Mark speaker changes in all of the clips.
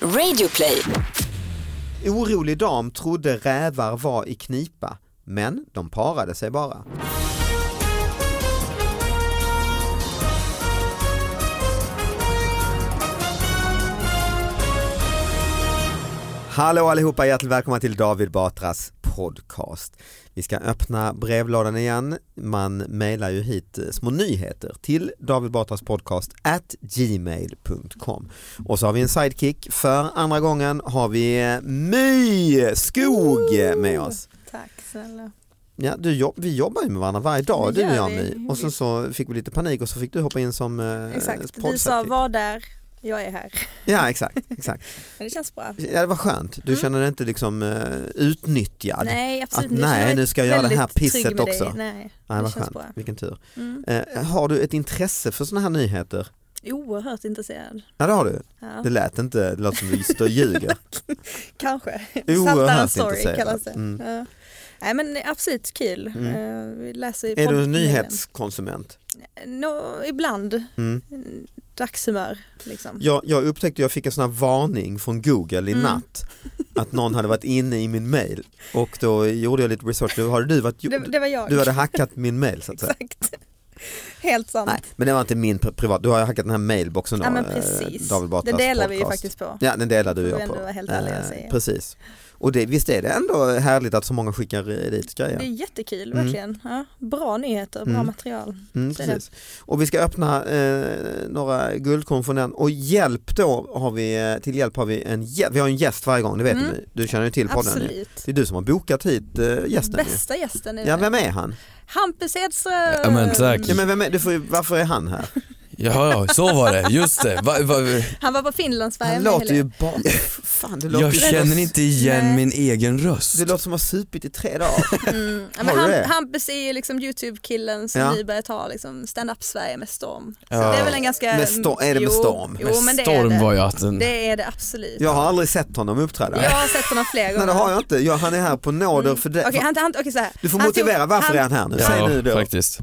Speaker 1: Radioplay.
Speaker 2: Orolig dam trodde rävar var i knipa, men de parade sig bara. Hallå allihopa, hjärtligt välkomna till David Batras podcast. Vi ska öppna brevlådan igen. Man mejlar ju hit eh, små nyheter till David Batras podcast at gmail.com. Och så har vi en sidekick. För andra gången har vi eh, My Skog med oss.
Speaker 3: Tack snälla.
Speaker 2: Ja, du jobb, vi jobbar ju med varandra varje dag,
Speaker 3: Det
Speaker 2: du och
Speaker 3: gör
Speaker 2: jag
Speaker 3: vi.
Speaker 2: My. Och sen så fick vi lite panik och så fick du hoppa in som eh,
Speaker 3: Exakt, du sa
Speaker 2: poddsidekick.
Speaker 3: var där, jag är här.
Speaker 2: Ja, exakt. exakt.
Speaker 3: Men det känns bra.
Speaker 2: Ja, det var skönt. Du kände dig inte liksom eh, utnyttjad.
Speaker 3: Mm. Nej absolut
Speaker 2: att nej, nu ska jag göra det
Speaker 3: väldigt
Speaker 2: här pisset
Speaker 3: trygg med dig.
Speaker 2: också.
Speaker 3: Nej,
Speaker 2: Nej,
Speaker 3: det
Speaker 2: vad
Speaker 3: känns
Speaker 2: skönt.
Speaker 3: bra.
Speaker 2: Vilken tur.
Speaker 3: Mm.
Speaker 2: Eh, har du ett intresse för sådana här nyheter?
Speaker 3: Oerhört intresserad.
Speaker 2: Ja det har du.
Speaker 3: Ja.
Speaker 2: Det lät inte, det lät som du står och ljuger.
Speaker 3: Kanske. Saltaren
Speaker 2: Oerhört
Speaker 3: story
Speaker 2: intresserad.
Speaker 3: kallas det.
Speaker 2: Mm.
Speaker 3: Ja. Nej men absolut kul.
Speaker 2: Mm.
Speaker 3: Eh, vi läser i
Speaker 2: Är du en
Speaker 3: podden.
Speaker 2: nyhetskonsument?
Speaker 3: Nå, ibland.
Speaker 2: Mm.
Speaker 3: Dagshumör liksom.
Speaker 2: Jag, jag upptäckte, jag fick en sån här varning från Google i
Speaker 3: Mm.
Speaker 2: natt att någon hade varit inne i min mail och då gjorde jag lite research, då hade du varit,
Speaker 3: det, det var jag.
Speaker 2: du hade hackat min mail så att säga.
Speaker 3: Exakt. Helt sant.
Speaker 2: Nej, men det var inte min pri- privat, du har hackat den här mailboxen då,
Speaker 3: ja men
Speaker 2: eh,
Speaker 3: precis.
Speaker 2: David
Speaker 3: Det
Speaker 2: Batras
Speaker 3: delar vi ju
Speaker 2: podcast.
Speaker 3: faktiskt på.
Speaker 2: Ja, den delar du och
Speaker 3: Får vi
Speaker 2: jag på.
Speaker 3: ändå vara helt ärliga och
Speaker 2: Eh,
Speaker 3: säga.
Speaker 2: Precis. Och det, visst är det ändå härligt att så många skickar dit
Speaker 3: Det
Speaker 2: grejer?
Speaker 3: är jättekul
Speaker 2: Mm.
Speaker 3: verkligen. Ja, bra nyheter, bra
Speaker 2: Mm.
Speaker 3: material.
Speaker 2: Mm,
Speaker 3: det är det.
Speaker 2: precis. Och vi ska öppna eh, några guldkorn från den och hjälp då har vi, eh, till hjälp har vi en, gä- vi har en gäst varje gång, det vet
Speaker 3: Mm.
Speaker 2: du du känner ju till podden ju.
Speaker 3: Absolut.
Speaker 2: Det är du som har bokat hit eh, gästen ju.
Speaker 3: Bästa gästen är
Speaker 2: Ja,
Speaker 3: det.
Speaker 2: vem är han?
Speaker 3: Hampus Edström!
Speaker 4: Ja, men tack.
Speaker 2: Ja, men vem är, du får, ju- varför är han här?
Speaker 4: Ja, ja, så var det. Just det. Va, va,
Speaker 3: Han var på Finlandsfärjan
Speaker 2: Han
Speaker 3: med
Speaker 2: låter ju
Speaker 3: Helena.
Speaker 2: bara... Fan, det låter
Speaker 4: jag
Speaker 2: ju-
Speaker 4: känner inte igen
Speaker 3: Nej.
Speaker 4: min egen röst.
Speaker 2: Det låter som att ha supit i tre dagar.
Speaker 3: Mm.
Speaker 2: Har
Speaker 3: Ja, men
Speaker 2: du det?
Speaker 3: han, Hampus är ju liksom Youtube-killen som
Speaker 2: Ja.
Speaker 3: nu börjar ta liksom stand-up Sverige med storm. Så
Speaker 4: Ja.
Speaker 3: det är väl en ganska...
Speaker 2: Med sto- är det med
Speaker 3: Jo,
Speaker 2: storm?
Speaker 3: Jo,
Speaker 4: Men
Speaker 3: men det
Speaker 4: storm
Speaker 3: är det.
Speaker 4: var ju att den...
Speaker 3: Det är det absolut.
Speaker 2: Jag har aldrig sett honom uppträda.
Speaker 3: Jag har sett honom flera gånger.
Speaker 2: Nej det har jag inte, jag, han är här på nåder för det.
Speaker 3: Mm. Okej, han, han, okej, så här.
Speaker 2: Du får
Speaker 3: han
Speaker 2: motivera
Speaker 3: tog-
Speaker 2: varför
Speaker 3: han,
Speaker 2: är han här nu? Säg
Speaker 4: Ja,
Speaker 2: nu då.
Speaker 4: faktiskt.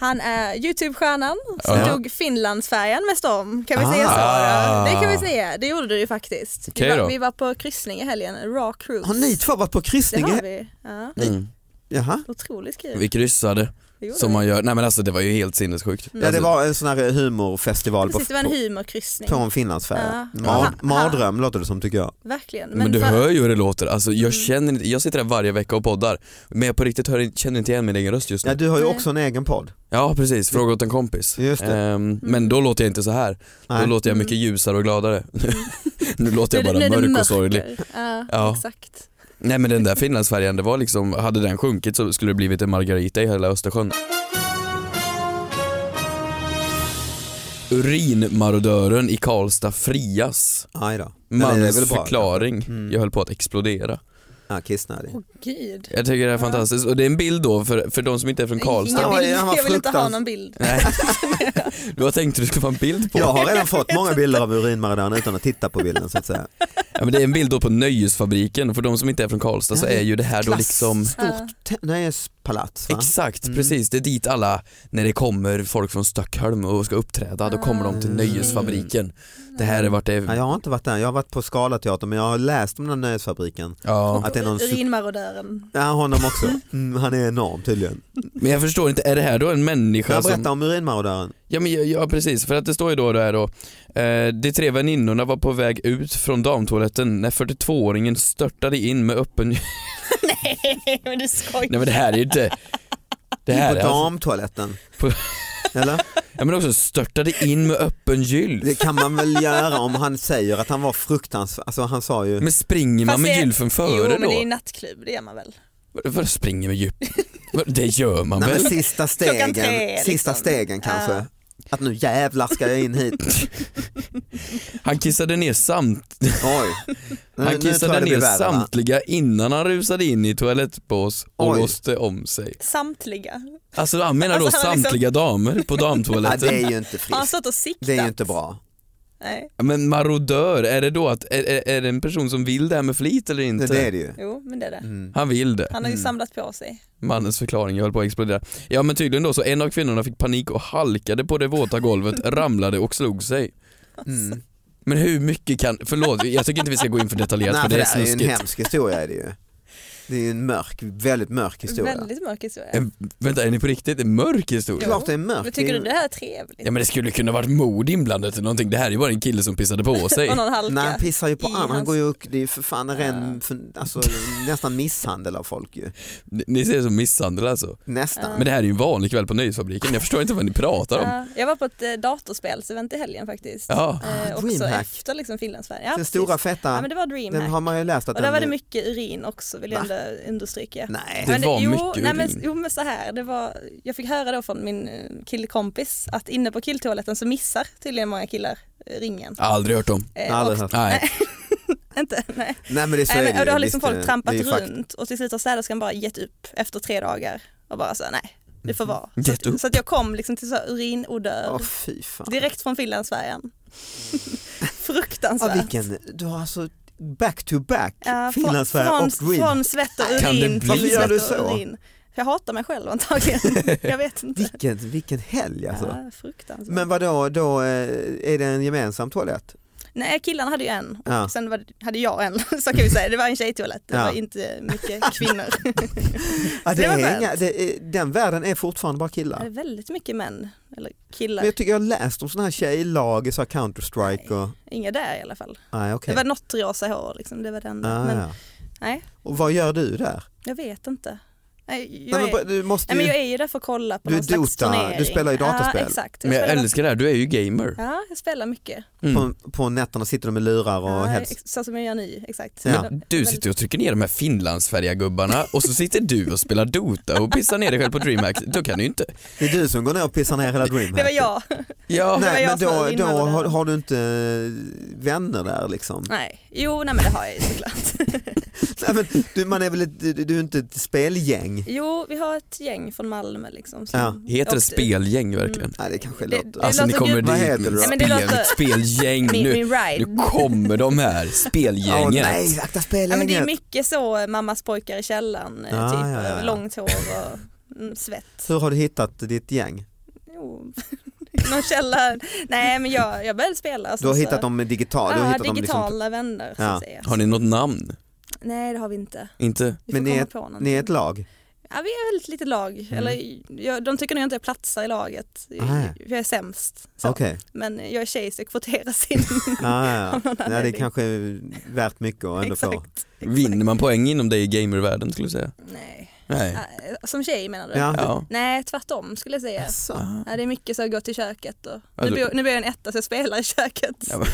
Speaker 3: Han är Youtube-stjärnan som
Speaker 4: Ja.
Speaker 3: tog Finlandsfärjan med storm. Kan vi säga så?
Speaker 4: Ah.
Speaker 3: då? Det kan vi säga. Det gjorde du ju faktiskt.
Speaker 4: Okej
Speaker 3: vi,
Speaker 4: då. Ah,
Speaker 3: var, vi var på kryssning i helgen, Raw Cruise.
Speaker 2: Har ni två varit på
Speaker 3: Det har
Speaker 2: kryssning?
Speaker 3: vi. Ja.
Speaker 4: Mm.
Speaker 2: Jaha.
Speaker 3: Otroligt kul.
Speaker 4: Vi kryssade
Speaker 3: Det gjorde
Speaker 4: som
Speaker 3: vi.
Speaker 4: man gör. Nej men alltså det var ju helt sinnessjukt.
Speaker 2: Ja, det
Speaker 4: Alltså,
Speaker 2: var en sån här humorfestival på,
Speaker 3: Precis, det var en
Speaker 2: på,
Speaker 3: humorkryssning.
Speaker 2: på en finlandsfärja.
Speaker 3: Ja.
Speaker 2: Mar,
Speaker 3: Ja.
Speaker 2: mardröm låter det som tycker jag.
Speaker 3: Verkligen.
Speaker 4: men, du
Speaker 3: för-
Speaker 4: hör ju hur det låter. Alltså,
Speaker 3: Mm.
Speaker 4: jag, känner inte, jag sitter här varje vecka och poddar men jag på riktigt hör, känner inte igen min egen röst just
Speaker 2: Ja,
Speaker 4: nu.
Speaker 2: du har ju
Speaker 3: Nej.
Speaker 2: också en egen podd.
Speaker 4: Ja precis, fråga åt en kompis.
Speaker 2: Just det.
Speaker 4: Ehm,
Speaker 3: Mm.
Speaker 4: Men då låter jag inte så här. Då
Speaker 2: Nej.
Speaker 4: låter jag mycket ljusare och gladare. nu låter jag bara
Speaker 3: nu är det
Speaker 4: mörk
Speaker 3: mörker.
Speaker 4: och sorglig.
Speaker 3: Ja,
Speaker 4: Ja.
Speaker 3: exakt.
Speaker 4: Nej men den där finlandsfärjan, det var liksom, hade den sjunkit så skulle det blivit en margarita i hela Östersjön. Urinmarodören i Karlstad frias.
Speaker 2: Aj då. Men det är väl
Speaker 4: Mannens
Speaker 2: bra.
Speaker 4: förklaring.
Speaker 2: Mm.
Speaker 4: Jag höll på att explodera.
Speaker 2: Ja, kissnödig.
Speaker 3: Åh gud.
Speaker 4: Jag tycker det är fantastiskt och det är en bild då för, för de som inte är från Karlstad.
Speaker 2: Ja,
Speaker 3: Ingen bild.
Speaker 2: han var
Speaker 3: Jag vill inte ha
Speaker 2: fruktans-
Speaker 3: någon bild.
Speaker 4: Nej. Du har tänkt att du skulle få en bild på.
Speaker 2: Jag
Speaker 4: Ja.
Speaker 2: har redan fått många bilder av urinmarodören utan att titta på bilden så att säga.
Speaker 4: men det är en bild då på Nöjesfabriken och för de som inte är från Karlstad så
Speaker 2: Ja, det är
Speaker 4: är ju det här då
Speaker 2: Klass-
Speaker 4: liksom
Speaker 3: Ja.
Speaker 2: Stort te- nöjespalats va?
Speaker 4: Exakt,
Speaker 2: Mm.
Speaker 4: precis. Det är dit alla, när det kommer folk från Stockholm och ska uppträda, då kommer de till
Speaker 2: Mm.
Speaker 4: Nöjesfabriken. Det här är vart det
Speaker 2: Ja,
Speaker 4: är...
Speaker 2: jag har inte varit där, jag har varit på Scalateatern men jag har läst om den där nöjesfabriken.
Speaker 4: Ja.
Speaker 2: Att det är någon sup-
Speaker 3: Urinmarodören.
Speaker 2: Ja, honom också. Mm, han är enorm tydligen.
Speaker 4: Men jag förstår inte, är det här då en människa
Speaker 2: Jag berättar
Speaker 4: som...
Speaker 2: om urinmarodören.
Speaker 4: Ja, men, ja, ja precis, för att det står ju då det här då. Eh, de tre väninnorna var på väg ut från damtoaletten när 42-åringen störtade in med öppen... Nej
Speaker 3: Nej, men du skojar.
Speaker 4: men det här är ju inte... Det här
Speaker 2: på
Speaker 4: är alltså...
Speaker 2: damtoaletten.
Speaker 4: På-
Speaker 2: Eller?
Speaker 4: Ja men också störtade in med öppen gylf.
Speaker 2: Det kan man väl göra om han säger att han var fruktansvärd. Alltså han sa ju,
Speaker 4: Men springer man
Speaker 3: Fast
Speaker 4: med
Speaker 3: det-
Speaker 4: gylfen
Speaker 3: Jo,
Speaker 4: före
Speaker 3: men det är ju
Speaker 4: då?
Speaker 3: nattklubb, det gör man väl?
Speaker 4: Vad- Vadå springer med gylfen? Det gör man
Speaker 2: nej
Speaker 4: väl?
Speaker 2: men sista stegen,
Speaker 3: Klockan tre,
Speaker 2: sista
Speaker 3: liksom.
Speaker 2: stegen kanske.
Speaker 3: Ja.
Speaker 2: Att nu jävlar ska jag in hit.
Speaker 4: Han kissade ner, samt,
Speaker 2: Oj. Nu,
Speaker 4: han
Speaker 2: nu tror
Speaker 4: kissade
Speaker 2: jag det blir
Speaker 4: ner
Speaker 2: värre va?
Speaker 4: samtliga innan han rusade in i toalettbås och
Speaker 2: Oj.
Speaker 4: låste om sig.
Speaker 3: Samtliga.
Speaker 4: Alltså han menar då
Speaker 3: Alltså, han liksom-
Speaker 4: samtliga damer på
Speaker 2: Ja,
Speaker 4: damtoaletten.
Speaker 2: det är ju inte
Speaker 3: Har han
Speaker 2: friskt.
Speaker 3: stått och siktat?
Speaker 2: Det är ju inte bra.
Speaker 3: Nej.
Speaker 4: Men marodör, är det då att, är, är, är det en person som vill det här med flit eller
Speaker 2: Det,
Speaker 4: inte?
Speaker 2: det är det ju.
Speaker 3: Jo, men det är det.
Speaker 2: Mm.
Speaker 4: Han vill det.
Speaker 3: Han har ju samlat på sig.
Speaker 4: Mannens förklaring, jag höll på att explodera. Ja men tydligen då så en av kvinnorna fick panik och halkade på det våta golvet, ramlade och slog sig.
Speaker 2: Mm.
Speaker 4: Men hur mycket kan, förlåt jag tycker inte vi ska gå in för detaljerat
Speaker 2: Nej,
Speaker 4: för det är
Speaker 2: där är ju en
Speaker 4: snuskigt.
Speaker 2: hemsk historia är det ju. Det är ju en mörk, väldigt mörk historia.
Speaker 3: Väldigt mörk historia.
Speaker 4: En- Eh, Vänta är ni på riktigt en mörk historia?
Speaker 2: Klart det är mörkt.
Speaker 3: Men tycker
Speaker 2: Det
Speaker 3: du
Speaker 2: är-
Speaker 3: det här är trevligt?
Speaker 4: Ja men det skulle kunna varit mord inblandat eller någonting, det här är ju bara en kille som pissade på sig.
Speaker 3: Och någon halka.
Speaker 2: Nej han pissar ju på
Speaker 3: i
Speaker 2: andra, han
Speaker 3: hans-
Speaker 2: går ju upp, det är ju för fan en ren,
Speaker 3: Ja.
Speaker 2: för, alltså, nästan misshandel av folk ju.
Speaker 4: Ni- Ni ser som misshandel alltså.
Speaker 2: Nästan.
Speaker 4: Men det här är ju en vanlig kväll på Nöjesfabriken, jag förstår inte vad ni pratar om.
Speaker 3: Ja, jag var på ett eh, datorspelsevent i helgen faktiskt.
Speaker 4: Ja.
Speaker 3: Eh, också
Speaker 2: Ah, Dreamhack.
Speaker 3: efter liksom filmens Sverige. Ja,
Speaker 2: Den
Speaker 3: precis.
Speaker 2: stora feta,
Speaker 3: ja men det var
Speaker 2: den
Speaker 3: Dreamhack.
Speaker 2: har man ju läst att
Speaker 3: Och där
Speaker 2: den
Speaker 3: var det mycket urin också vill jag
Speaker 2: Va?
Speaker 3: ändå understryka.
Speaker 2: Nej,
Speaker 4: Det
Speaker 3: Men
Speaker 4: var
Speaker 3: jo,
Speaker 4: mycket
Speaker 3: nej, men,
Speaker 4: urin.
Speaker 3: jo men så här, det var, jag fick höra då från min eh, killkompis att inne på killtoaletten så missar tydligen många killar eh, ringen.
Speaker 4: Aldrig hört om.
Speaker 3: Eh,
Speaker 2: aldrig
Speaker 3: och,
Speaker 2: hört.
Speaker 4: Nej.
Speaker 3: inte, nej.
Speaker 2: Nej men det så
Speaker 3: Nej,
Speaker 2: är
Speaker 3: men,
Speaker 2: det
Speaker 3: och då har
Speaker 2: ju.
Speaker 3: liksom
Speaker 2: Visst, det-
Speaker 3: folk trampat
Speaker 2: det är ju fakt-
Speaker 3: runt och till slut har städerskan bara gett upp efter tre dagar och bara så här, nej det får vara. Så,
Speaker 4: Gett upp.
Speaker 3: att, så att jag kom liksom till så här urinodör
Speaker 2: Mm. Åh fy fan.
Speaker 3: direkt från Finlandsfärjan.
Speaker 2: Ja,
Speaker 3: Fruktansvärt.
Speaker 2: vilken, du har alltså back to back
Speaker 3: Ja, från-
Speaker 2: Finlandsfärja
Speaker 3: från,
Speaker 2: och Dream.
Speaker 3: Från svett och urin.
Speaker 4: Kan det bli
Speaker 3: till
Speaker 4: så?
Speaker 2: Varför gör du
Speaker 3: svett och
Speaker 2: så?
Speaker 3: urin. För jag hatar mig själv antagligen. jag vet inte.
Speaker 2: Vilken, vilken helg alltså.
Speaker 3: Ja, fruktansvärt.
Speaker 2: Men vadå, då eh, är det en gemensam toalett?
Speaker 3: Nej killarna hade ju en och
Speaker 2: Ja.
Speaker 3: sen var, hade jag en. Så kan vi säga, det var en tjejtoalett. Det
Speaker 2: Ja.
Speaker 3: var inte mycket kvinnor.
Speaker 2: Ja, det
Speaker 3: Det var
Speaker 2: är
Speaker 3: skönt.
Speaker 2: inga, det är, den världen är fortfarande bara
Speaker 3: Det
Speaker 2: killar.
Speaker 3: var väldigt mycket män eller
Speaker 2: Men
Speaker 3: killar.
Speaker 2: jag tycker jag har läst om sådana här tjejlag i så här Counter-Strike och...
Speaker 3: Inga där i alla fall.
Speaker 2: Nej okej.
Speaker 3: Det var något rosa hår liksom, det var den.
Speaker 2: Ah,
Speaker 3: men
Speaker 2: ja.
Speaker 3: nej.
Speaker 2: Och vad gör du där?
Speaker 3: jag vet inte. Nej, jag,
Speaker 2: Nej, men,
Speaker 3: är,
Speaker 2: ba- du måste
Speaker 3: nej,
Speaker 2: ju...
Speaker 3: men jag är ju där för att kolla på
Speaker 2: Du är
Speaker 3: någon slags
Speaker 2: Dota, du
Speaker 3: turnering.
Speaker 2: spelar ju dataspel.
Speaker 3: Ja, exakt.
Speaker 4: Men jag
Speaker 3: spelar-
Speaker 4: älskar det här, du är ju gamer.
Speaker 3: Ja, jag spelar mycket.
Speaker 4: Mm.
Speaker 2: på, på nätterna sitter du med lurar och
Speaker 3: Ja,
Speaker 2: heads.
Speaker 3: ex- så som jag gör nu, exakt.
Speaker 2: Ja.
Speaker 3: Men-
Speaker 4: Du
Speaker 3: men-
Speaker 4: sitter och trycker ner de här Finlandsfärja-gubbarna och så sitter du och spelar Dota och pissar ner dig själv på DreamHack. Då kan du ju inte.
Speaker 2: Det är du som går ner och pissar ner hela Dreamhack.
Speaker 3: Det var jag.
Speaker 4: Ja,
Speaker 3: det var
Speaker 2: Nej,
Speaker 3: jag
Speaker 2: men
Speaker 3: som var
Speaker 2: då, då
Speaker 3: inblandad där.
Speaker 2: har, har du inte eh, vänner där liksom?
Speaker 3: Nej, jo nej men det har jag ju såklart.
Speaker 2: Nej, men du, man är väl ett, du, du är inte ett spelgäng?
Speaker 3: Jo, vi har ett gäng från Malmö liksom. som
Speaker 2: Ja.
Speaker 4: heter det
Speaker 3: åkte-
Speaker 4: spelgäng verkligen?
Speaker 2: Nej det kanske
Speaker 3: Det-
Speaker 2: låter...
Speaker 3: det
Speaker 4: Alltså ni
Speaker 3: låter
Speaker 4: kommer
Speaker 3: gud-
Speaker 2: Vad
Speaker 4: dit
Speaker 2: heter det
Speaker 4: med
Speaker 2: då?
Speaker 3: Mm. Nej, men det
Speaker 4: spel,
Speaker 3: låter-
Speaker 4: mitt spelgäng
Speaker 3: Min,
Speaker 4: nu.
Speaker 3: min ride.
Speaker 4: Nu kommer de här,
Speaker 2: Åh
Speaker 4: spelgänget.
Speaker 2: nej, akta
Speaker 3: Ja, men det är
Speaker 2: spelgänget.
Speaker 3: mycket så eh, mammas pojkar i källaren, eh,
Speaker 2: Ah,
Speaker 3: typ
Speaker 2: ja, ja, ja.
Speaker 3: långt hår och mm, svett.
Speaker 2: Hur har du hittat ditt gäng?
Speaker 3: Jo. Någon källa. Nej men jag, jag började spela. och
Speaker 2: Du har
Speaker 3: sen så-
Speaker 2: hittat dem digitalt? du
Speaker 3: Ja,
Speaker 2: har hittat
Speaker 3: digitala
Speaker 2: Dem liksom
Speaker 3: vänner så
Speaker 2: Ja.
Speaker 3: att säga.
Speaker 4: Har ni något namn?
Speaker 3: Nej det har vi inte.
Speaker 4: Inte?
Speaker 3: Vi
Speaker 2: Men ni
Speaker 3: får komma
Speaker 2: är-
Speaker 3: på
Speaker 2: liksom, ni
Speaker 3: någonting.
Speaker 2: är ett Mm. lag?
Speaker 3: Ja, vi är väldigt lite lag. Eller, jag, de tycker nog inte jag platsar i laget.
Speaker 2: Nej.
Speaker 3: Jag är sämst. Så.
Speaker 2: Okej.
Speaker 3: Men jag är tjej så jag kvoteras in.
Speaker 2: Ah, ja.
Speaker 3: Av någon
Speaker 2: Nej, det är
Speaker 3: anledning.
Speaker 2: kanske är värt mycket att ändå få.
Speaker 3: Exakt.
Speaker 4: Vinner man poäng inom dig i gamervärlden skulle du säga?
Speaker 3: Nej.
Speaker 4: Nej.
Speaker 3: Ja, Som tjej menar du?
Speaker 2: Ja.
Speaker 4: Ja.
Speaker 3: Nej tvärtom skulle jag säga.
Speaker 2: Jaså.
Speaker 3: Ja, det är mycket så att gå till köket och
Speaker 4: Ja,
Speaker 2: Alltså-
Speaker 3: nu,
Speaker 4: du-
Speaker 3: bor, nu bor jag i en etta så jag spelar i köket.
Speaker 4: Ja,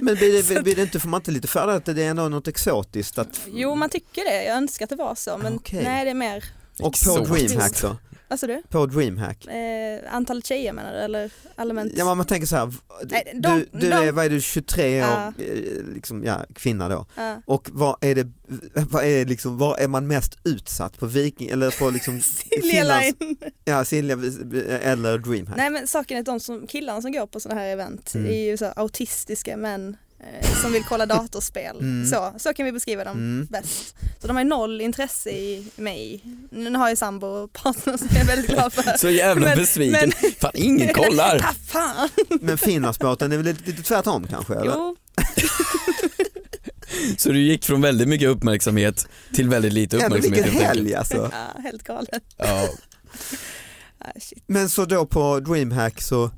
Speaker 2: Men blir det, blir det inte, får man inte lite för att det är ändå något exotiskt? Att,
Speaker 3: Jo man tycker det, jag önskar att det var så men
Speaker 2: Okej.
Speaker 3: nej det är mer,
Speaker 2: och på
Speaker 4: Exotiskt.
Speaker 2: DreamHack då?
Speaker 3: vad sa Alltså du?
Speaker 2: På DreamHack?
Speaker 3: Eh, antalet tjejer menar du eller allmänt?
Speaker 2: Ja, men man tänker så här, v-
Speaker 3: Nej, de-
Speaker 2: du, du
Speaker 3: de-
Speaker 2: är, vad är du, 23 år,
Speaker 3: Ja.
Speaker 2: eh, liksom, ja, kvinna då.
Speaker 3: Ja.
Speaker 2: Och vad är det, vad är liksom, var är man mest utsatt på Viking eller på liksom
Speaker 3: Silja
Speaker 2: Finlands-
Speaker 3: Line.
Speaker 2: Ja, Silja eller Dreamhack.
Speaker 3: Nej men saken är att de som, killarna som går på sådana här event
Speaker 2: Mm.
Speaker 3: är ju så här autistiska män eh, som vill kolla datorspel.
Speaker 2: Mm.
Speaker 3: Så, så kan vi beskriva dem
Speaker 2: Mm.
Speaker 3: bäst. Så de har ju noll intresse i mig. Nu har jag sambo och partner som jag är väldigt glad för.
Speaker 4: Så jävla
Speaker 3: Men-
Speaker 4: besviken. Fan ingen kollar.
Speaker 3: Ah, fan!
Speaker 2: Men Finlandsbåten är väl lite, lite tvärtom kanske? Eller?
Speaker 3: Jo,
Speaker 4: Så du gick från väldigt mycket uppmärksamhet till väldigt lite
Speaker 2: Ändå
Speaker 4: uppmärksamhet.
Speaker 2: vilken
Speaker 4: helt enkelt.
Speaker 2: helg alltså.
Speaker 3: ja, helt galet.
Speaker 4: Ja.
Speaker 3: Ah, shit.
Speaker 2: Men så då på DreamHack så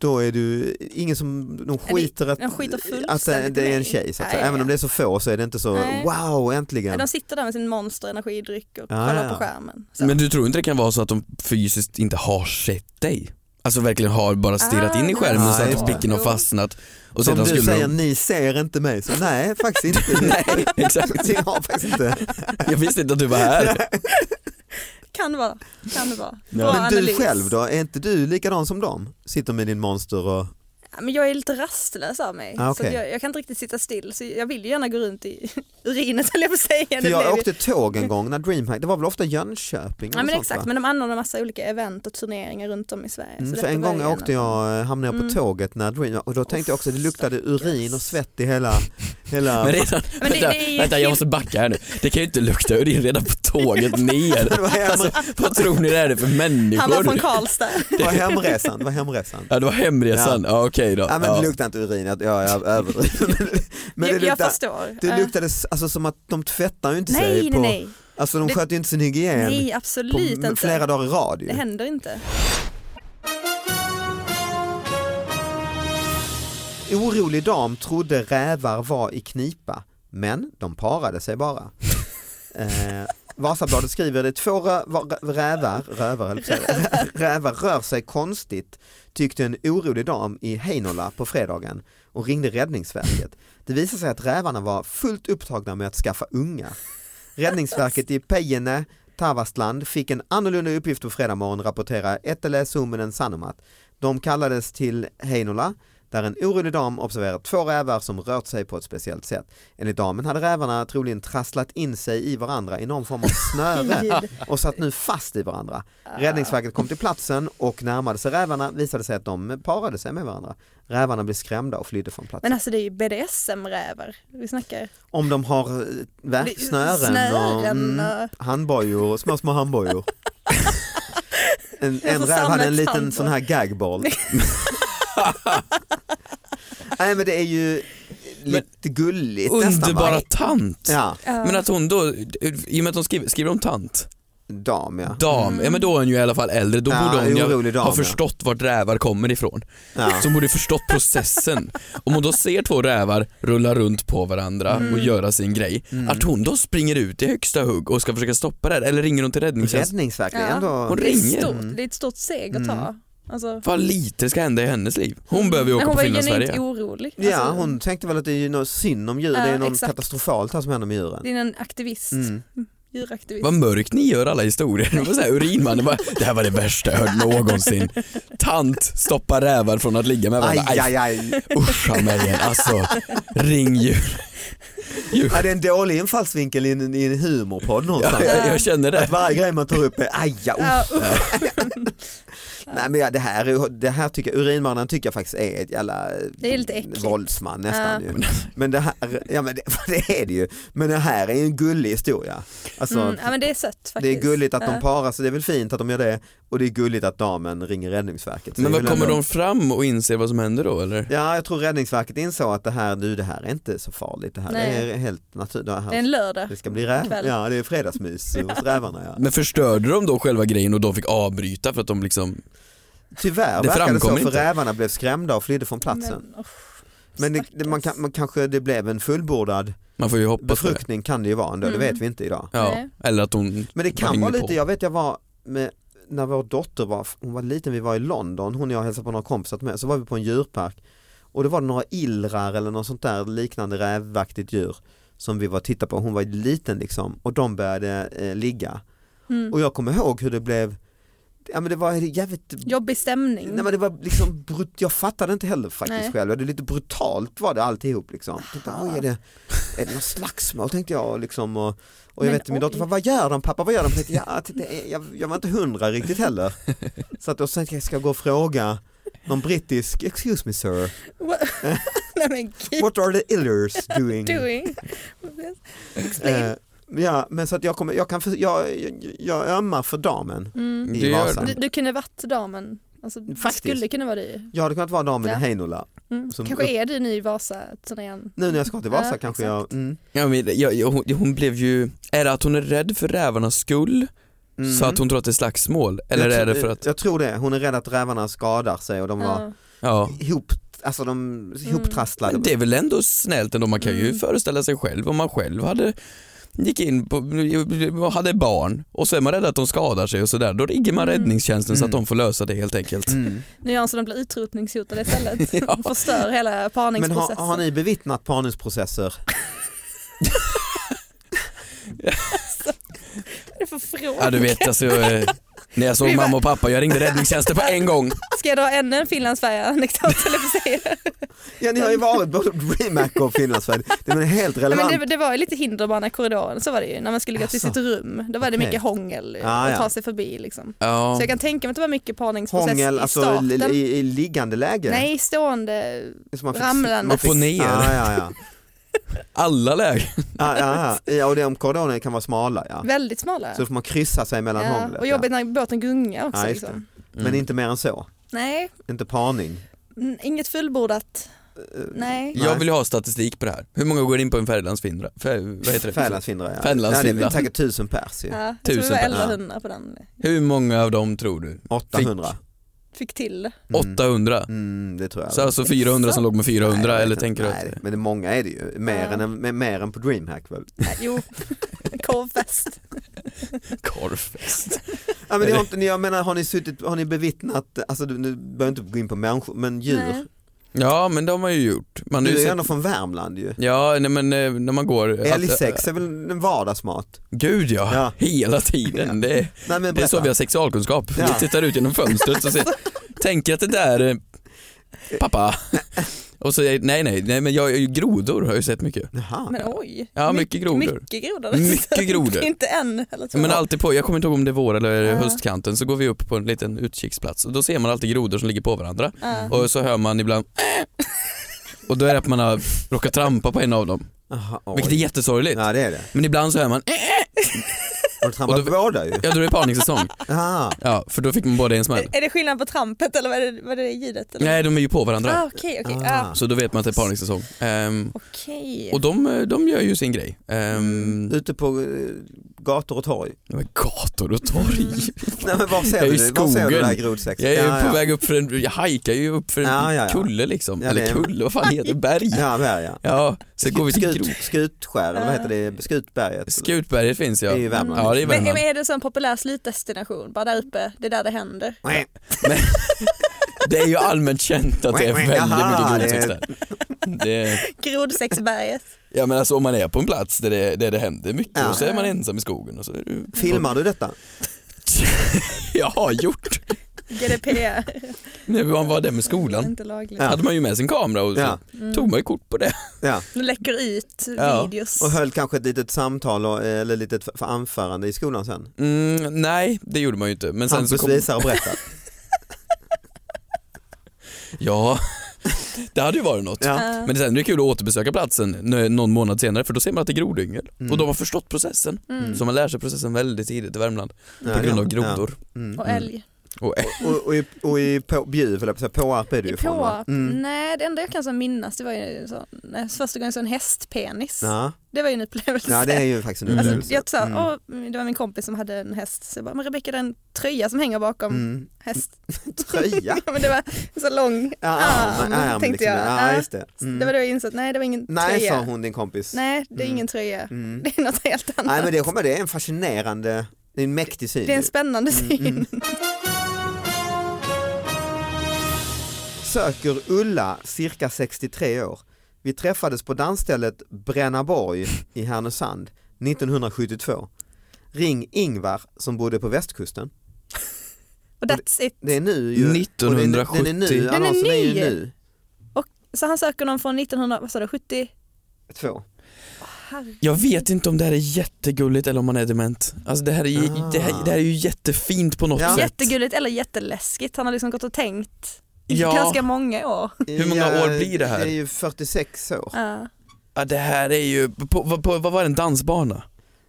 Speaker 2: då är du ingen som de skiter att,
Speaker 3: de skiter
Speaker 2: att det-
Speaker 3: fullständigt
Speaker 2: det är en
Speaker 3: nej.
Speaker 2: tjej så att
Speaker 3: Ja,
Speaker 2: säga.
Speaker 3: ja,
Speaker 2: Även om
Speaker 3: ja.
Speaker 2: det är så få så är det inte så
Speaker 3: Nej.
Speaker 2: wow äntligen.
Speaker 3: De sitter där med sin monster energidryck och
Speaker 2: Ja,
Speaker 3: kollar
Speaker 2: Ah, ja.
Speaker 3: på skärmen. Så.
Speaker 4: Men du tror inte det kan vara så att de fysiskt inte har sett dig? Alltså verkligen har bara stirrat
Speaker 3: Ah,
Speaker 4: in i skärmen
Speaker 2: nej.
Speaker 4: och satt
Speaker 2: Ja,
Speaker 4: och blicken har
Speaker 3: jo.
Speaker 4: fastnat
Speaker 2: Som
Speaker 4: och sedan
Speaker 2: du
Speaker 4: skulle
Speaker 2: säger,
Speaker 4: de...
Speaker 2: ni ser inte mig. Så, nej, faktiskt inte.
Speaker 4: Nej, exakt.
Speaker 2: Så Jag har faktiskt inte.
Speaker 4: Jag visste inte att du var här.
Speaker 3: Kan det vara. Kan det vara. Bra
Speaker 2: Men du
Speaker 3: analys.
Speaker 2: själv då, är inte du likadan som dem? Sitter med din monster och...
Speaker 3: Ja, men jag är lite rastlös av mig.
Speaker 2: Ah, okej.
Speaker 3: så jag, jag kan inte riktigt sitta still. Så jag vill ju gärna gå runt i urinet höll jag på att säga.
Speaker 2: För
Speaker 3: Det blev
Speaker 2: jag
Speaker 3: ju-
Speaker 2: åkte tåg en gång när DreamHack, det var väl ofta Jönköping?
Speaker 3: Ja
Speaker 2: eller
Speaker 3: men
Speaker 2: sånt,
Speaker 3: exakt,
Speaker 2: va?
Speaker 3: men de anordnar massa olika event och turneringar runt om i Sverige.
Speaker 2: Mm,
Speaker 3: så
Speaker 2: för
Speaker 3: detta
Speaker 2: en
Speaker 3: var
Speaker 2: gång
Speaker 3: ju en
Speaker 2: åkte
Speaker 3: av dem.
Speaker 2: jag, hamnade jag på
Speaker 3: Mm.
Speaker 2: tåget när Dream, och då tänkte jag också det luktade urin och svett i hela, Hela...
Speaker 4: Men redan,
Speaker 3: Men det-
Speaker 4: vänta,
Speaker 3: det är ju
Speaker 4: vänta
Speaker 3: till-
Speaker 4: jag måste backa här nu. Det kan ju inte lukta urin redan på tåget ner.
Speaker 2: Det var, hem,
Speaker 4: Alltså, vad tror ni det här är för
Speaker 3: Han var
Speaker 4: människor?
Speaker 3: från Karlstad.
Speaker 2: det var hemresan. Det var hemresan.
Speaker 4: Ja det var hemresan, ja, okej då.
Speaker 2: Ja, men det
Speaker 4: Ja.
Speaker 2: luktar inte urin, jag, jag, jag överdriver. Men det
Speaker 3: jag, jag
Speaker 2: luktar,
Speaker 3: förstår.
Speaker 2: det
Speaker 3: Eh,
Speaker 2: luktade s- alltså, som att de tvättar ju inte sig
Speaker 3: nej,
Speaker 2: på,
Speaker 3: nej, nej.
Speaker 2: alltså de
Speaker 3: Det-
Speaker 2: sköter ju inte sin hygien
Speaker 3: Nej,
Speaker 2: på
Speaker 3: absolut
Speaker 2: m-
Speaker 3: inte.
Speaker 2: flera dagar i rad
Speaker 3: Det
Speaker 2: ju.
Speaker 3: händer inte.
Speaker 2: Orolig dam trodde rävar var i knipa, men de parade sig bara. eh, Vasabladet skriver det, två rö- va- rävar, rövar, höll jag på att säga. rävar rör sig konstigt tyckte en orolig dam i Heinola på fredagen och ringde Räddningsverket. Det visade sig att rävarna var fullt upptagna med att skaffa unga. Räddningsverket i Pejene, Tavastland fick en annorlunda uppgift på fredag morgon, rapporterar Ettele Suominen Sanomat. De kallades till Heinola där en orolig dam observerat två rävar som rört sig på ett speciellt sätt. Enligt damen hade rävarna troligen trasslat in sig i varandra i någon form av snöre och satt nu fast i varandra. Räddningsverket kom till platsen och närmade sig rävarna visade sig att de parade sig med varandra. Rävarna blev skrämda och flydde från platsen.
Speaker 3: Men alltså det är ju BDSM-rävar vi snackar.
Speaker 2: Om de har eh, verk,
Speaker 3: Det-
Speaker 2: snören och
Speaker 3: snören
Speaker 2: mm,
Speaker 3: och-
Speaker 2: handbojor, små små handbojor. En, en
Speaker 3: får
Speaker 2: räv hade en liten
Speaker 3: sammetshandboj.
Speaker 2: sån här gagboll. Nej men det är ju lite gulligt nästan. va?
Speaker 4: Underbara tant.
Speaker 2: Ja,
Speaker 4: Men att hon då, i och med att hon skriver, skriver om tant,
Speaker 2: dam ja.
Speaker 4: dam, ja men då är hon ju i alla fall äldre, då borde hon ju
Speaker 2: orolig dam,
Speaker 4: ha
Speaker 2: ja.
Speaker 4: förstått vart rävar kommer ifrån.
Speaker 2: ja.
Speaker 4: Så hon borde förstått processen. Om hon då ser två rävar rulla runt på varandra och
Speaker 2: Mm.
Speaker 4: göra sin grej, att hon då springer ut i högsta hugg och ska försöka stoppa det här, eller ringer hon till räddningstjänsten?
Speaker 2: Räddningsverket
Speaker 3: Ja.
Speaker 2: är ändå.
Speaker 4: Hon
Speaker 3: Det är,
Speaker 4: ringer.
Speaker 3: stort, det är ett stort steg att ta.
Speaker 2: Mm.
Speaker 3: Alltså,
Speaker 4: Vad lite ska hända i hennes liv. Hon behöver ju
Speaker 3: men
Speaker 4: åka
Speaker 3: hon
Speaker 4: på
Speaker 3: var ju
Speaker 4: Finlandsfärja.
Speaker 3: genuint orolig.
Speaker 2: Ja
Speaker 3: Alltså,
Speaker 2: hon tänkte väl att det är ju något synd om djur,
Speaker 3: Ja,
Speaker 2: det är något
Speaker 3: exakt.
Speaker 2: katastrofalt här som händer med djuren.
Speaker 3: Det är en aktivist,
Speaker 2: Mm.
Speaker 3: djuraktivist.
Speaker 4: Vad mörkt ni gör alla historier. Det var så här, urinmannen bara, det här var det värsta jag hört någonsin. Tant stoppar rävar från att ligga med
Speaker 2: Aj,
Speaker 4: varandra.
Speaker 2: aj,
Speaker 4: Aj,
Speaker 2: aj.
Speaker 4: Uscha mig igen, alltså ring djur. djur.
Speaker 2: Ja, det är en dålig infallsvinkel i en, i en humorpodd någonstans.
Speaker 4: Jag, jag, jag känner det.
Speaker 2: Att varje grej man tar upp är aja, usch.
Speaker 3: Ja, usch.
Speaker 2: Nej men ja, det här, är- det här tycker jag, urinmannen tycker jag faktiskt är ett jävla
Speaker 3: Det är lite äckligt.
Speaker 2: våldsman nästan
Speaker 3: Ja.
Speaker 2: ju. Men det här, ja men det, det är det ju. Men det här är ju en gullig historia. Alltså,
Speaker 3: mm, ja men det är sött faktiskt.
Speaker 2: det är gulligt att de
Speaker 3: Ja.
Speaker 2: parar sig, det är väl fint att de gör det och det är gulligt att damen ringer Räddningsverket. Så
Speaker 4: Men
Speaker 2: det är
Speaker 4: vad
Speaker 2: väl
Speaker 4: kommer
Speaker 2: ändå-
Speaker 4: de fram och inser vad som händer då eller?
Speaker 2: Ja jag tror Räddningsverket insåg att det här, du det här är inte så farligt, det här
Speaker 3: Nej.
Speaker 2: är helt naturligt. Det,
Speaker 3: Det är
Speaker 2: här-
Speaker 3: en lördag.
Speaker 2: det ska bli räv,
Speaker 3: kväll.
Speaker 2: ja det är fredagsmys hos rävarna ja.
Speaker 4: Men förstörde de då själva grejen och de fick avbryta för att de liksom,
Speaker 2: Tyvärr
Speaker 4: Det
Speaker 2: verkar det så
Speaker 4: framkom
Speaker 2: för
Speaker 4: inte.
Speaker 2: rävarna blev skrämda och flydde från platsen.
Speaker 3: Men, oh,
Speaker 2: Men det, det, man, kan, man kanske det blev en fullbordad
Speaker 4: man får ju hoppas på det.
Speaker 2: befruktning kan det ju vara ändå, det
Speaker 3: Mm.
Speaker 2: vet vi inte idag.
Speaker 4: Ja,
Speaker 3: Nej.
Speaker 4: eller att hon
Speaker 2: Men det kan
Speaker 4: ringer
Speaker 2: vara lite,
Speaker 4: på.
Speaker 2: jag vet jag var med, när vår dotter var, hon var liten, vi var i London, hon och jag hälsade på några kompisar med, så var vi på en djurpark och då var det några illrar eller något sånt där liknande rävaktigt djur som vi var och tittade på, hon var liten liksom och de började eh, ligga.
Speaker 3: Mm.
Speaker 2: Och jag kommer ihåg hur det blev, ja men det var jävligt
Speaker 3: Jobbig stämning.
Speaker 2: Nej men det var liksom, brut- jag fattade inte heller faktiskt
Speaker 3: Nej.
Speaker 2: själv, det är lite brutalt var det alltihop liksom. Jag Tänkte, oj, är, det, är det något slagsmål tänkte jag liksom och, och jag
Speaker 3: Men
Speaker 2: vet min dotter,
Speaker 3: oj.
Speaker 2: "Vad- vad gör de pappa, vad gör de? Jag, tänkte, ja, det är, jag, jag var inte hundra riktigt heller. Så att då tänkte jag, ska jag gå och fråga någon brittisk, excuse me sir,
Speaker 3: What- Nej men gud.
Speaker 2: what are the illers doing?
Speaker 3: doing?
Speaker 2: Eh, ja men så att jag, kommer, jag, kan, för- jag, jag, jag ömmar för damen
Speaker 3: Mm.
Speaker 4: Det
Speaker 2: i
Speaker 4: gör
Speaker 2: Vasa.
Speaker 3: Du, du kunde varit damen. Alltså, det
Speaker 2: Faktiskt.
Speaker 3: skulle kunna vara du.
Speaker 2: Jag hade kunnat vara damen
Speaker 3: Ja.
Speaker 2: i Heinola,
Speaker 3: Mm.
Speaker 2: Som
Speaker 3: Kanske
Speaker 2: upp-
Speaker 3: är du ny i Vasa-turnén.
Speaker 2: nu när jag ska till Vasa
Speaker 3: Ja,
Speaker 2: kanske jag, mm,
Speaker 4: Ja, men, jag, jag, hon, hon blev ju, är det att hon är rädd för rävarnas skull
Speaker 2: mm.
Speaker 4: så att hon tror att det är slagsmål? Eller
Speaker 2: jag,
Speaker 4: är
Speaker 2: tro-
Speaker 4: det för att,
Speaker 2: Jag tror det, hon är rädd att rävarna skadar sig och de var
Speaker 3: Ja.
Speaker 4: ja.
Speaker 2: ihop, alltså de ihoptrasslade.
Speaker 4: Men Mm. det är väl ändå snällt ändå, man kan ju
Speaker 3: Mm.
Speaker 4: föreställa sig själv om man själv hade gick in på, och hade barn och så är man rädd att de skadar sig och sådär, då ringer man
Speaker 3: Mm.
Speaker 4: räddningstjänsten så att
Speaker 2: Mm.
Speaker 4: de får lösa det helt enkelt.
Speaker 2: Mm.
Speaker 3: Nu gör han så de blir utrotningshotade istället.
Speaker 4: Ja.
Speaker 3: Förstör hela
Speaker 2: Men
Speaker 3: parningsprocessen.
Speaker 2: har, har ni bevittnat parningsprocesser?
Speaker 3: Vad är det för fråga?
Speaker 4: Ja du vet alltså, eh, när jag såg mamma och pappa, jag ringde räddningstjänsten på en gång.
Speaker 3: Ska jag dra ännu en Finlandsfärja-anekdot eller vad säger jag?
Speaker 2: Ja ni har ju varit både på DreamHack och Finlandsfärjan, det är helt
Speaker 3: Nej,
Speaker 2: relevant.
Speaker 3: men det, det var ju lite hinderbana i korridoren, så var det ju. När man skulle gå till
Speaker 2: Asså.
Speaker 3: sitt rum, då var det
Speaker 2: Okej.
Speaker 3: mycket hångel
Speaker 2: Ah,
Speaker 3: att
Speaker 2: ja.
Speaker 3: ta sig förbi. Liksom.
Speaker 4: Ja.
Speaker 3: Så jag kan tänka mig att det var mycket parningsprocess
Speaker 2: Hångel,
Speaker 3: i
Speaker 2: alltså
Speaker 3: starten.
Speaker 2: i, i, i liggande läge?
Speaker 3: Nej, stående.
Speaker 2: Så man
Speaker 3: ramlandes.
Speaker 4: Upp och ner.
Speaker 2: Ja, ja, ja.
Speaker 4: alla lägen.
Speaker 2: Ja, ja, ja. ja, och de korridorer kan vara smala ja.
Speaker 3: Väldigt smala.
Speaker 2: Så då får man kryssa sig mellan
Speaker 3: ja.
Speaker 2: hånglet.
Speaker 3: Och jobbigt när båten gungar också.
Speaker 2: Ja, just
Speaker 3: liksom.
Speaker 4: Mm.
Speaker 2: ja. Men inte mer än så,
Speaker 3: Nej,
Speaker 2: inte parning.
Speaker 3: mm, inget fullbordat.
Speaker 2: Eh,
Speaker 3: Nej.
Speaker 4: Jag vill ju ha statistik på det här. Hur många går in på en Färglandsfindra? Fär, vad heter det?
Speaker 2: Fälandsfindare ja.
Speaker 4: Fälandsfindare.
Speaker 2: Ja, det är säkert tusen pers ju.
Speaker 3: Ja, jag tror det var
Speaker 4: Tusen per-
Speaker 3: 1100 på den.
Speaker 4: Hur många av dem tror
Speaker 2: Mm.
Speaker 4: du?
Speaker 2: 800.
Speaker 3: Fick till det.
Speaker 2: Mm.
Speaker 4: 800?
Speaker 2: Mm, det tror jag.
Speaker 4: Så alltså 400 som låg med 400
Speaker 2: Nej, jag vet
Speaker 4: eller
Speaker 2: inte.
Speaker 4: tänker du
Speaker 2: Nej,
Speaker 4: att...
Speaker 2: men det, många är det ju, mer,
Speaker 3: Ja.
Speaker 2: än, mer, mer än på DreamHack väl?
Speaker 3: Nej, Jo, korvfest.
Speaker 4: Korvfest.
Speaker 2: Ja, men det har inte, ni- jag menar har ni suttit, har ni bevittnat, alltså du, du behöver inte gå in på människor, men djur.
Speaker 3: Nej.
Speaker 4: Ja men de har ju gjort. Man har
Speaker 2: Du
Speaker 4: ju
Speaker 2: är ju
Speaker 4: sett-
Speaker 2: ändå från Värmland ju.
Speaker 4: Ja nej, men eh, när man går... eh,
Speaker 2: Älgsex är väl en vardagsmat?
Speaker 4: Gud ja,
Speaker 2: Ja.
Speaker 4: hela tiden. Det,
Speaker 2: Nej, men
Speaker 4: det är så
Speaker 2: berätta.
Speaker 4: vi har sexualkunskap.
Speaker 2: Ja.
Speaker 4: Vi tittar ut genom fönstret och ser, tänker att det där är pappa. Och så, är- nej nej, nej men jag, grodor har jag ju sett mycket.
Speaker 2: Jaha.
Speaker 3: Men oj.
Speaker 4: Ja, mycket
Speaker 3: Myck-
Speaker 4: grodor.
Speaker 3: Mycket grodor.
Speaker 4: Mycket grodor.
Speaker 3: Inte en eller två.
Speaker 4: Men alltid på, jag kommer inte ihåg om det är vår eller
Speaker 3: Ja.
Speaker 4: höstkanten, så går vi upp på en liten utkiksplats och då ser man alltid grodor som ligger på varandra
Speaker 3: Ja.
Speaker 2: Mm.
Speaker 4: och så hör man ibland och då är det att man har råkat trampa på en av dem,
Speaker 2: Jaha, oj.
Speaker 4: vilket är jättesorgligt.
Speaker 2: Ja det är det.
Speaker 4: Men ibland så hör man
Speaker 2: Har du trampat
Speaker 4: Och då-
Speaker 2: båda ju?
Speaker 4: jag tror det är parningssäsong.
Speaker 2: Jaha.
Speaker 4: Ja, för då fick man båda i en smäll.
Speaker 3: Är det skillnad på trampet eller vad är det, vad är det ljudet? Eller?
Speaker 4: Nej, de är ju på varandra.
Speaker 3: Ah, okej, okej.
Speaker 2: Ah.
Speaker 3: Ah,
Speaker 4: Så då vet man att det är parningssäsong. Ehm,
Speaker 3: okej.
Speaker 4: och de, de gör ju sin grej. Um,
Speaker 2: Ute på eh, gator och torg.
Speaker 4: gator och torg.
Speaker 2: Nej men var ser
Speaker 4: Jag är
Speaker 2: du
Speaker 4: i
Speaker 2: det? Var ser du det
Speaker 4: skogen.
Speaker 2: här grodsexet?
Speaker 4: Jag är
Speaker 2: ja,
Speaker 4: på
Speaker 2: ja.
Speaker 4: väg upp för en, jag hajkar ju upp för en
Speaker 2: Ja, ja, ja.
Speaker 4: kulle liksom.
Speaker 2: Ja, det
Speaker 4: Eller
Speaker 2: är-
Speaker 4: kulle, vad fan heter det? Berg?
Speaker 2: Ja, där, ja.
Speaker 4: Ja, så går vi till
Speaker 2: Skut,
Speaker 4: Gro-
Speaker 2: skutskär, eller vad heter det? Skutberget?
Speaker 4: Skutberget finns ja.
Speaker 2: Det är ju Värmland.
Speaker 4: Ja, det är
Speaker 3: men,
Speaker 4: Värmland.
Speaker 3: Mm. men är det en sån populär slutdestination? Bara där uppe, det är där det händer.
Speaker 2: Nej.
Speaker 4: Det är ju allmänt känt att det är
Speaker 2: Men- men,
Speaker 4: väldigt
Speaker 2: aha,
Speaker 4: mycket grodsex
Speaker 2: det-
Speaker 4: där. Det,
Speaker 3: Grodsexberget.
Speaker 4: ja men alltså om man är på en plats där det, där det händer mycket
Speaker 2: Ja.
Speaker 4: och så är man ensam i skogen och så är du...
Speaker 2: Filmar du detta?
Speaker 4: Jag har gjort.
Speaker 3: GDPR.
Speaker 4: När man var där med skolan
Speaker 3: Inte lagligt.
Speaker 2: Ja.
Speaker 4: hade man ju med sin kamera och så
Speaker 2: Ja.
Speaker 4: tog man ju kort på det.
Speaker 2: Ja.
Speaker 3: De läcker ut
Speaker 4: Ja.
Speaker 3: videos.
Speaker 2: Och höll kanske ett litet samtal och, eh, eller ett litet f- anförande i skolan sen?
Speaker 4: Mm, nej, det gjorde man ju inte. Men sen så
Speaker 2: Hampus
Speaker 4: kom,
Speaker 2: visar och berättar.
Speaker 4: ja, det hade ju varit något.
Speaker 2: Ja.
Speaker 3: Ja.
Speaker 4: Men sen är det kul att återbesöka platsen n- någon månad senare för då ser man att det är grodyngel.
Speaker 2: Mm.
Speaker 4: Och de har förstått processen.
Speaker 3: Mm.
Speaker 4: Så man lär sig processen väldigt tidigt i Värmland
Speaker 2: Ja,
Speaker 4: på grund
Speaker 2: ja.
Speaker 4: av grodor.
Speaker 2: Ja. Mm.
Speaker 3: Och älg.
Speaker 4: Och,
Speaker 2: Och, och, i, och i på, Bjuv, höll jag på att säga, Påarp är du
Speaker 3: I
Speaker 2: ju ifrån va?
Speaker 3: Påarp?
Speaker 2: Mm.
Speaker 3: Nej, det enda jag kan så minnas det var ju så, nej, första gången jag såg en hästpenis.
Speaker 2: Ja.
Speaker 3: Det var ju en upplevelse.
Speaker 2: ja, det är ju faktiskt en
Speaker 4: Alltså,
Speaker 2: upplevelse.
Speaker 3: Jag sa,
Speaker 2: Mm.
Speaker 3: åh, det var min kompis som hade en häst, så jag bara, men Rebecka det är en tröja som hänger bakom
Speaker 2: Mm.
Speaker 3: häst.
Speaker 2: Tröja?
Speaker 3: ja, men det var en så lång
Speaker 2: Ja, arm,
Speaker 3: arm,
Speaker 2: arm
Speaker 3: Ah, tänkte
Speaker 2: liksom.
Speaker 3: jag.
Speaker 2: Ja,
Speaker 3: Ja.
Speaker 2: just det. Mm.
Speaker 3: Det var då jag insåg att nej det var ingen
Speaker 2: Nej,
Speaker 3: tröja.
Speaker 2: sa hon din kompis.
Speaker 3: Nej, det är
Speaker 2: Mm.
Speaker 3: ingen tröja.
Speaker 2: Mm.
Speaker 3: Det är något helt annat.
Speaker 2: Nej men det, kommer- det är en fascinerande, det Mm, är en mäktig syn.
Speaker 3: det är
Speaker 2: ju.
Speaker 3: en spännande syn.
Speaker 2: Söker Ulla, cirka 63 år. Vi träffades på dansstället Brännaborg i Härnösand 1972. Ring Ingvar som bodde på västkusten.
Speaker 3: Och that's it.
Speaker 2: Det är nu ju. och den- Den är
Speaker 4: 1970.
Speaker 2: nu,
Speaker 4: Den
Speaker 3: är
Speaker 2: annonsen är ju
Speaker 3: ny.
Speaker 2: nu.
Speaker 3: Så han söker någon från 1970?
Speaker 2: Två.
Speaker 4: Jag vet inte om det här är jättegulligt eller om man är dement. Alltså det här är, ju-
Speaker 2: Ah.
Speaker 4: det här, det här är ju jättefint på något
Speaker 2: Ja.
Speaker 4: sätt.
Speaker 3: Jättegulligt eller jätteläskigt. Han har liksom gått och tänkt i
Speaker 4: Ja.
Speaker 3: ganska många år.
Speaker 4: Hur många
Speaker 2: Ja,
Speaker 4: år blir det här?
Speaker 2: Det är ju 46 år.
Speaker 3: Ja.
Speaker 4: Ja, det här är ju, på, på, på, vad var det, en dansbana?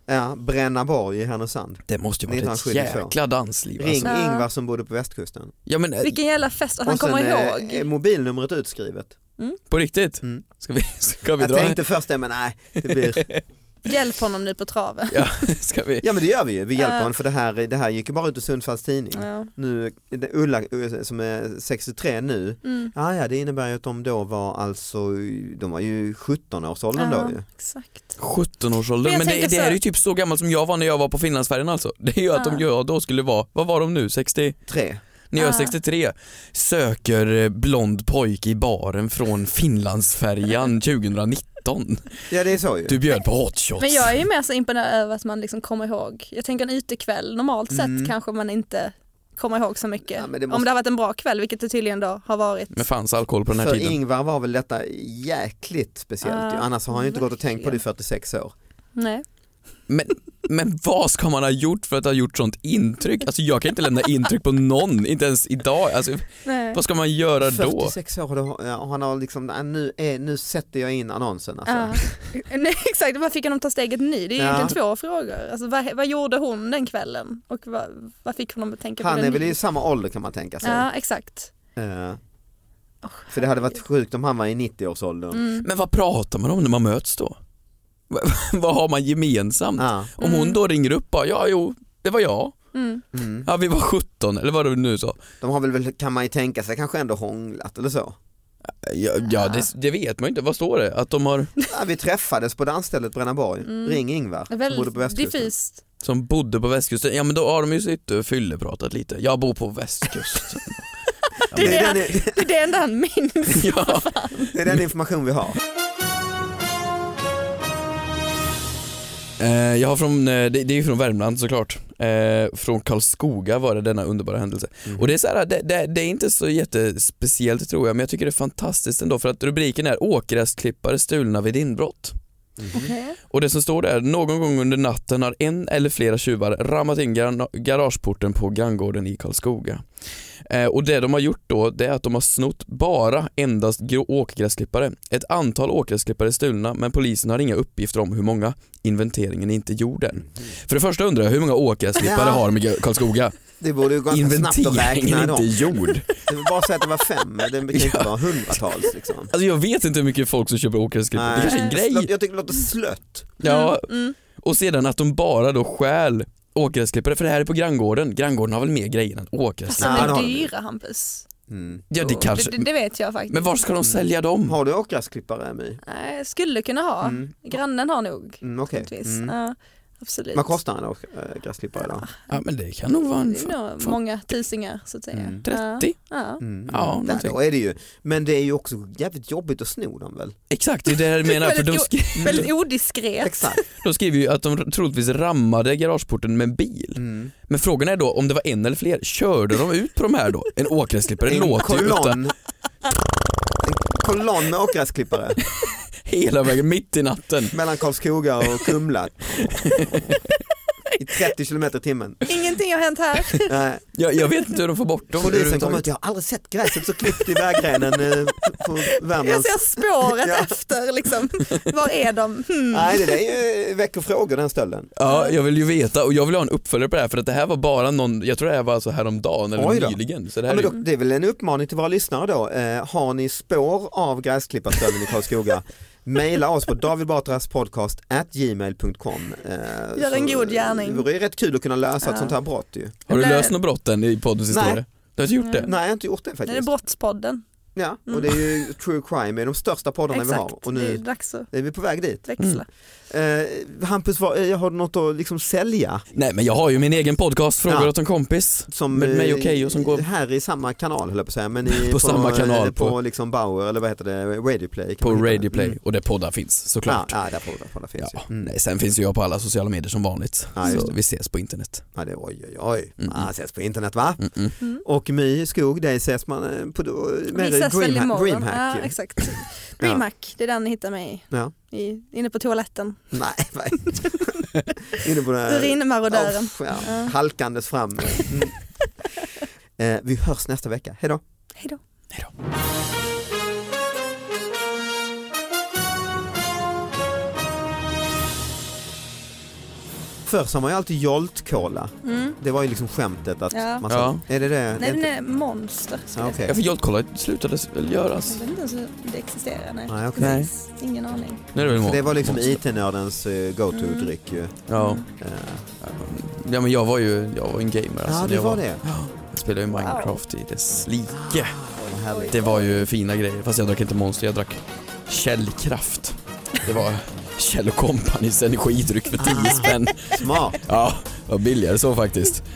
Speaker 2: Ja, Brännaborg i Härnösand.
Speaker 4: Det måste ju vara ett
Speaker 2: 1972.
Speaker 4: jäkla dansliv
Speaker 2: Ring
Speaker 4: alltså.
Speaker 3: Ja.
Speaker 2: Ingvar som bodde på västkusten.
Speaker 4: Ja men eh,
Speaker 3: Vilken jävla fest att han
Speaker 2: sen
Speaker 3: kommer
Speaker 2: är-
Speaker 3: ihåg.
Speaker 2: är mobilnumret utskrivet.
Speaker 4: på riktigt,
Speaker 2: Mm.
Speaker 4: ska vi, ska vi
Speaker 2: Jag
Speaker 4: dra en-
Speaker 2: tänkte först det men nej, det blir
Speaker 3: Hjälp honom nu på traven.
Speaker 4: Ja, ska vi?
Speaker 2: Ja men det gör vi ju, vi hjälper
Speaker 3: Ja.
Speaker 2: honom för det här, det här gick ju bara ut i Sundsvalls tidning.
Speaker 3: Ja.
Speaker 2: Nu, det- Ulla eh, som är 63 nu,
Speaker 3: Mm.
Speaker 2: ah, ja det innebär ju att de då var alltså, de var ju 17-årsåldern
Speaker 3: Ja,
Speaker 2: då ju.
Speaker 3: exakt.
Speaker 4: 17 års
Speaker 3: Men
Speaker 4: ålder,
Speaker 3: jag
Speaker 4: men det,
Speaker 3: tänker
Speaker 4: det här
Speaker 3: så-
Speaker 4: är ju typ så gammalt som jag var när jag var på Finlandsfärjan alltså. Det är ju att
Speaker 3: Ah.
Speaker 4: de jag då skulle vara, vad var de nu, 60?
Speaker 2: Tre.
Speaker 4: När jag är
Speaker 3: Ah.
Speaker 4: 63 söker eh, blond pojke i baren från Finlandsfärjan 2019.
Speaker 2: Ja det är så ju.
Speaker 4: Du bjöd på hot shots.
Speaker 3: Men jag är ju mer så imponerad över att man liksom kommer ihåg. Jag tänker en utekväll, normalt
Speaker 2: Mm.
Speaker 3: sett kanske man inte kommer ihåg så mycket.
Speaker 2: Ja, men det
Speaker 3: Om
Speaker 2: måste-
Speaker 3: det har varit en bra kväll, vilket det tydligen då har varit.
Speaker 4: Men fanns alkohol på den här
Speaker 2: För
Speaker 4: tiden?
Speaker 2: Ingvar var väl detta jäkligt speciellt ju.
Speaker 3: Ja,
Speaker 2: annars har han ju inte gått och tänkt på det i
Speaker 3: verkligen.
Speaker 2: 46 år.
Speaker 3: Nej.
Speaker 4: Men, men vad ska man ha gjort för att ha gjort sånt intryck? Alltså jag kan inte lämna intryck på någon, inte ens idag. Alltså,
Speaker 3: Nej.
Speaker 4: vad ska man göra då?
Speaker 2: 46 år och då har- ja, han har liksom, nej, nu, är, nu sätter jag in annonsen alltså.
Speaker 3: Ja. Nej, exakt, vad fick honom ta steget nu? Det är ju
Speaker 2: Ja.
Speaker 3: egentligen två frågor. Alltså, vad, vad gjorde hon den kvällen och vad, vad fick honom att tänka
Speaker 2: Han
Speaker 3: på det
Speaker 2: är
Speaker 3: nu?
Speaker 2: väl i samma ålder kan man tänka sig.
Speaker 3: Ja, exakt.
Speaker 2: Eh, för det hade varit sjukt om han var i 90-årsåldern.
Speaker 3: Mm.
Speaker 4: Men vad pratar man om när man möts då? Vad- vad har man gemensamt?
Speaker 2: Ja,
Speaker 4: Om hon då ringer upp bara, ja jo, det var jag.
Speaker 3: Mm.
Speaker 2: mm.
Speaker 4: Ja vi var 17 eller vad du nu sa.
Speaker 2: De har väl- väl, kan man ju tänka sig, kanske ändå hånglat eller så.
Speaker 4: Ja, ja det, det vet man ju inte, vad står det? Att de har,
Speaker 2: Ja, vi träffades på dansstället Brännaborg,
Speaker 3: Mm.
Speaker 2: ring Ingvar
Speaker 3: Det är
Speaker 2: som bodde på
Speaker 3: Väldigt
Speaker 2: västkusten.
Speaker 3: diffust.
Speaker 4: som bodde på västkusten, ja men då har de ju sitt eh, fyllepratat lite. Jag bor på västkusten.
Speaker 3: Det är det, han,
Speaker 2: den är-
Speaker 3: det är det enda han minns.
Speaker 4: ja.
Speaker 2: Det är den information vi har.
Speaker 4: Eh, Jag har från, eh, det, det är ju från Värmland såklart. Eh, Från Karlskoga var det denna underbara händelse. Och det är så här, det, det, det är inte så jättespeciellt tror jag, men jag tycker det är fantastiskt ändå för att rubriken är åkgräsklippare stulna vid inbrott. Mm-hmm.
Speaker 3: Okej.
Speaker 4: Och det som står där, någon gång under natten har en eller flera tjuvar rammat in gar- garageporten på granngården i Karlskoga. Eh, och det de har gjort då, det är att de har snott bara endast grå- åkergräsklippare. Ett antal åkergräsklippare är stulna, men polisen har inga uppgifter om hur många. Inventeringen är inte gjord än. För det första undrar jag, hur många åkergräsklippare
Speaker 2: Ja.
Speaker 4: har de i Gö- Karlskoga?
Speaker 2: Det borde ju gå ganska snabbt att
Speaker 4: Inventeringen
Speaker 2: räkna
Speaker 4: är inte
Speaker 2: dem.
Speaker 4: gjord.
Speaker 2: Det var bara att säga att det var fem, men det kan ju inte
Speaker 4: Ja.
Speaker 2: vara hundratals liksom.
Speaker 4: Alltså jag vet inte hur mycket folk som köper åkergräsklippare, det kanske är en
Speaker 2: Slött-
Speaker 4: grej.
Speaker 2: Jag tycker det låter slött.
Speaker 4: Ja,
Speaker 3: Mm, mm.
Speaker 4: Och sedan att de bara då stjäl åkgräsklippare, för det här är på granngården. Granngården har väl mer grejer än
Speaker 3: Fast
Speaker 4: åkgräsklippare?
Speaker 2: Nej,
Speaker 3: de
Speaker 2: det har
Speaker 3: är
Speaker 2: de
Speaker 3: Alltså, dyra Hampus.
Speaker 2: Mm.
Speaker 4: Ja det kanske,
Speaker 3: Det, det vet jag faktiskt.
Speaker 4: men var ska de sälja dem?
Speaker 2: Har du åkgräsklippare My?
Speaker 3: Nej, jag skulle kunna ha.
Speaker 2: Mm.
Speaker 3: Grannen har nog.
Speaker 2: Mm, Okej.
Speaker 3: troligtvis.
Speaker 2: Mm.
Speaker 3: Ja, absolut.
Speaker 2: Vad kostar en åkgräsklippare idag?
Speaker 4: Ja men det kan nog vara en
Speaker 3: Det är nog många tusingar så att säga.
Speaker 2: Mm.
Speaker 4: 30?
Speaker 3: Ja.
Speaker 2: Mm.
Speaker 4: Ja,
Speaker 2: Ja,
Speaker 4: någonting.
Speaker 2: då är det ju. Men det är ju också jävligt jobbigt att sno dem väl?
Speaker 4: Exakt, det är det jag menar för de,
Speaker 3: Väldigt Ja.
Speaker 4: skri-
Speaker 3: Väldigt odiskret.
Speaker 2: Exakt.
Speaker 4: de skriver ju att de troligtvis rammade garageporten med en bil.
Speaker 2: Mm.
Speaker 4: Men frågan är då om det var en eller fler, körde de ut på de här då? En åkgräsklippare
Speaker 2: En
Speaker 4: låter ju utan
Speaker 2: kolonn. En kolonn med åkgräsklippare
Speaker 4: hela vägen mitt i natten.
Speaker 2: mellan Karlskoga och Kumla. I 30 kilometer i timmen.
Speaker 3: Ingenting har hänt här.
Speaker 2: Nej.
Speaker 4: Jag, jag vet inte hur de får bort dem
Speaker 2: Polisen kom
Speaker 4: överhuvudtaget.
Speaker 2: ut, jag har aldrig sett gräset så klippt i vägrenen eh, på
Speaker 3: Jag
Speaker 2: Värmlands.
Speaker 3: ser spåret
Speaker 2: Ja.
Speaker 3: efter liksom. Var är de? Hmm.
Speaker 2: Nej det där är ju, väcker frågor den stölden.
Speaker 4: Ja, jag vill ju veta och jag vill ha en uppföljare på det här för att det här var bara någon, jag tror det här var alltså häromdagen
Speaker 2: Oj
Speaker 4: eller
Speaker 2: då.
Speaker 4: nyligen. Så det
Speaker 2: Ja,
Speaker 4: här är
Speaker 2: men
Speaker 4: ju-
Speaker 2: då, det är väl en uppmaning till våra lyssnare då. Eh, har ni spår av gräsklipparstölden i Karlskoga? Maila oss på davidbatraspodcast.gmail.com eh,
Speaker 3: Gör en
Speaker 2: så-
Speaker 3: god gärning.
Speaker 2: Det vore ju rätt kul att kunna lösa ett
Speaker 3: Ja. Mm.
Speaker 2: sånt här brott ju.
Speaker 4: Har du
Speaker 3: Eller-
Speaker 4: löst något brott än i poddens
Speaker 2: Nej.
Speaker 4: historia? Du har inte gjort det?
Speaker 2: Nej jag har inte gjort det
Speaker 3: Det är
Speaker 2: faktiskt.
Speaker 3: Brottspodden.
Speaker 2: ja,
Speaker 3: Mm.
Speaker 2: och det är ju true crime, det är de största poddarna vi
Speaker 3: Exakt.
Speaker 2: har. Och
Speaker 3: Det är
Speaker 2: nu
Speaker 3: dags att
Speaker 2: är vi på väg dit.
Speaker 4: Mm.
Speaker 3: växla.
Speaker 2: Eh, Hampus, vad, eh, har du något att liksom sälja?
Speaker 4: Nej men jag har ju min egen podcast, Frågor
Speaker 2: Ja.
Speaker 4: åt en kompis.
Speaker 2: Som,
Speaker 4: Med mig
Speaker 2: eh,
Speaker 4: och Keyyo som går-
Speaker 2: Här i samma kanal höll jag på att säga. Men i,
Speaker 4: På samma kanal,
Speaker 2: eh, På,
Speaker 4: på-
Speaker 2: liksom Bauer eller vad heter det, Radioplay. kan
Speaker 4: På
Speaker 2: man hitta det.
Speaker 4: Radioplay
Speaker 2: Mm.
Speaker 4: och där poddar finns
Speaker 2: Ja,
Speaker 4: såklart.
Speaker 2: ja, där på, där på, där finns
Speaker 4: Ja.
Speaker 2: ju. Mm.
Speaker 4: Nej, sen finns ju jag på alla sociala medier som vanligt.
Speaker 2: Ja, just
Speaker 4: så
Speaker 2: det.
Speaker 4: vi ses på internet.
Speaker 2: Ja, det, oj, oj, oj.
Speaker 4: Mm.
Speaker 2: Man ses på internet va?
Speaker 4: Mm-mm.
Speaker 3: Mm.
Speaker 2: Och My Skog, dig ses man eh, på mer
Speaker 3: Vi ses väl
Speaker 2: Dreamha-
Speaker 3: imorgon.
Speaker 2: Dreamhack.
Speaker 3: Ja,
Speaker 2: ju.
Speaker 3: exakt. Dreamhack, det är där ni hittar mig.
Speaker 2: Ja.
Speaker 3: I, inne på toaletten.
Speaker 2: Nej, vad Inne på den här-
Speaker 3: Urinmarodören.
Speaker 2: Usch, Eh, ja.
Speaker 3: Ja.
Speaker 2: Halkandes fram. Mm. Eh, Vi hörs nästa vecka, hejdå.
Speaker 3: Hej då.
Speaker 2: Förr sa man ju alltid joltkola.
Speaker 3: Mm.
Speaker 2: Det var ju liksom skämtet att
Speaker 3: Ja.
Speaker 2: man sa, är det det? det
Speaker 3: Nej,
Speaker 2: är
Speaker 3: den
Speaker 2: inte...
Speaker 3: är monster. skulle
Speaker 2: Ja,
Speaker 3: jag
Speaker 2: okej.
Speaker 3: säga.
Speaker 4: Ja för Joltkollar slutade väl göras?
Speaker 3: Jag vet inte ens hur det existerar. Nej,
Speaker 2: Nej, okej.
Speaker 3: Precis. Ingen aning.
Speaker 4: Nej, det, är väl
Speaker 2: För
Speaker 4: må-
Speaker 2: det var liksom IT-nördens eh, go-to-dryck
Speaker 3: Mm.
Speaker 2: ju.
Speaker 4: ja.
Speaker 2: Eh,
Speaker 4: ja men jag var ju jag var en gamer alltså.
Speaker 2: Ja,
Speaker 4: när
Speaker 2: det
Speaker 4: jag
Speaker 2: var det.
Speaker 4: Jag spelade ju Minecraft i dess like.
Speaker 2: Vad härligt.
Speaker 4: Det var ju fina grejer, fast jag drack inte Monster, jag drack Källkraft. Det var Kjell Companys energidryck för 10 spänn.
Speaker 2: Smart.
Speaker 4: Ja, var billigare så faktiskt.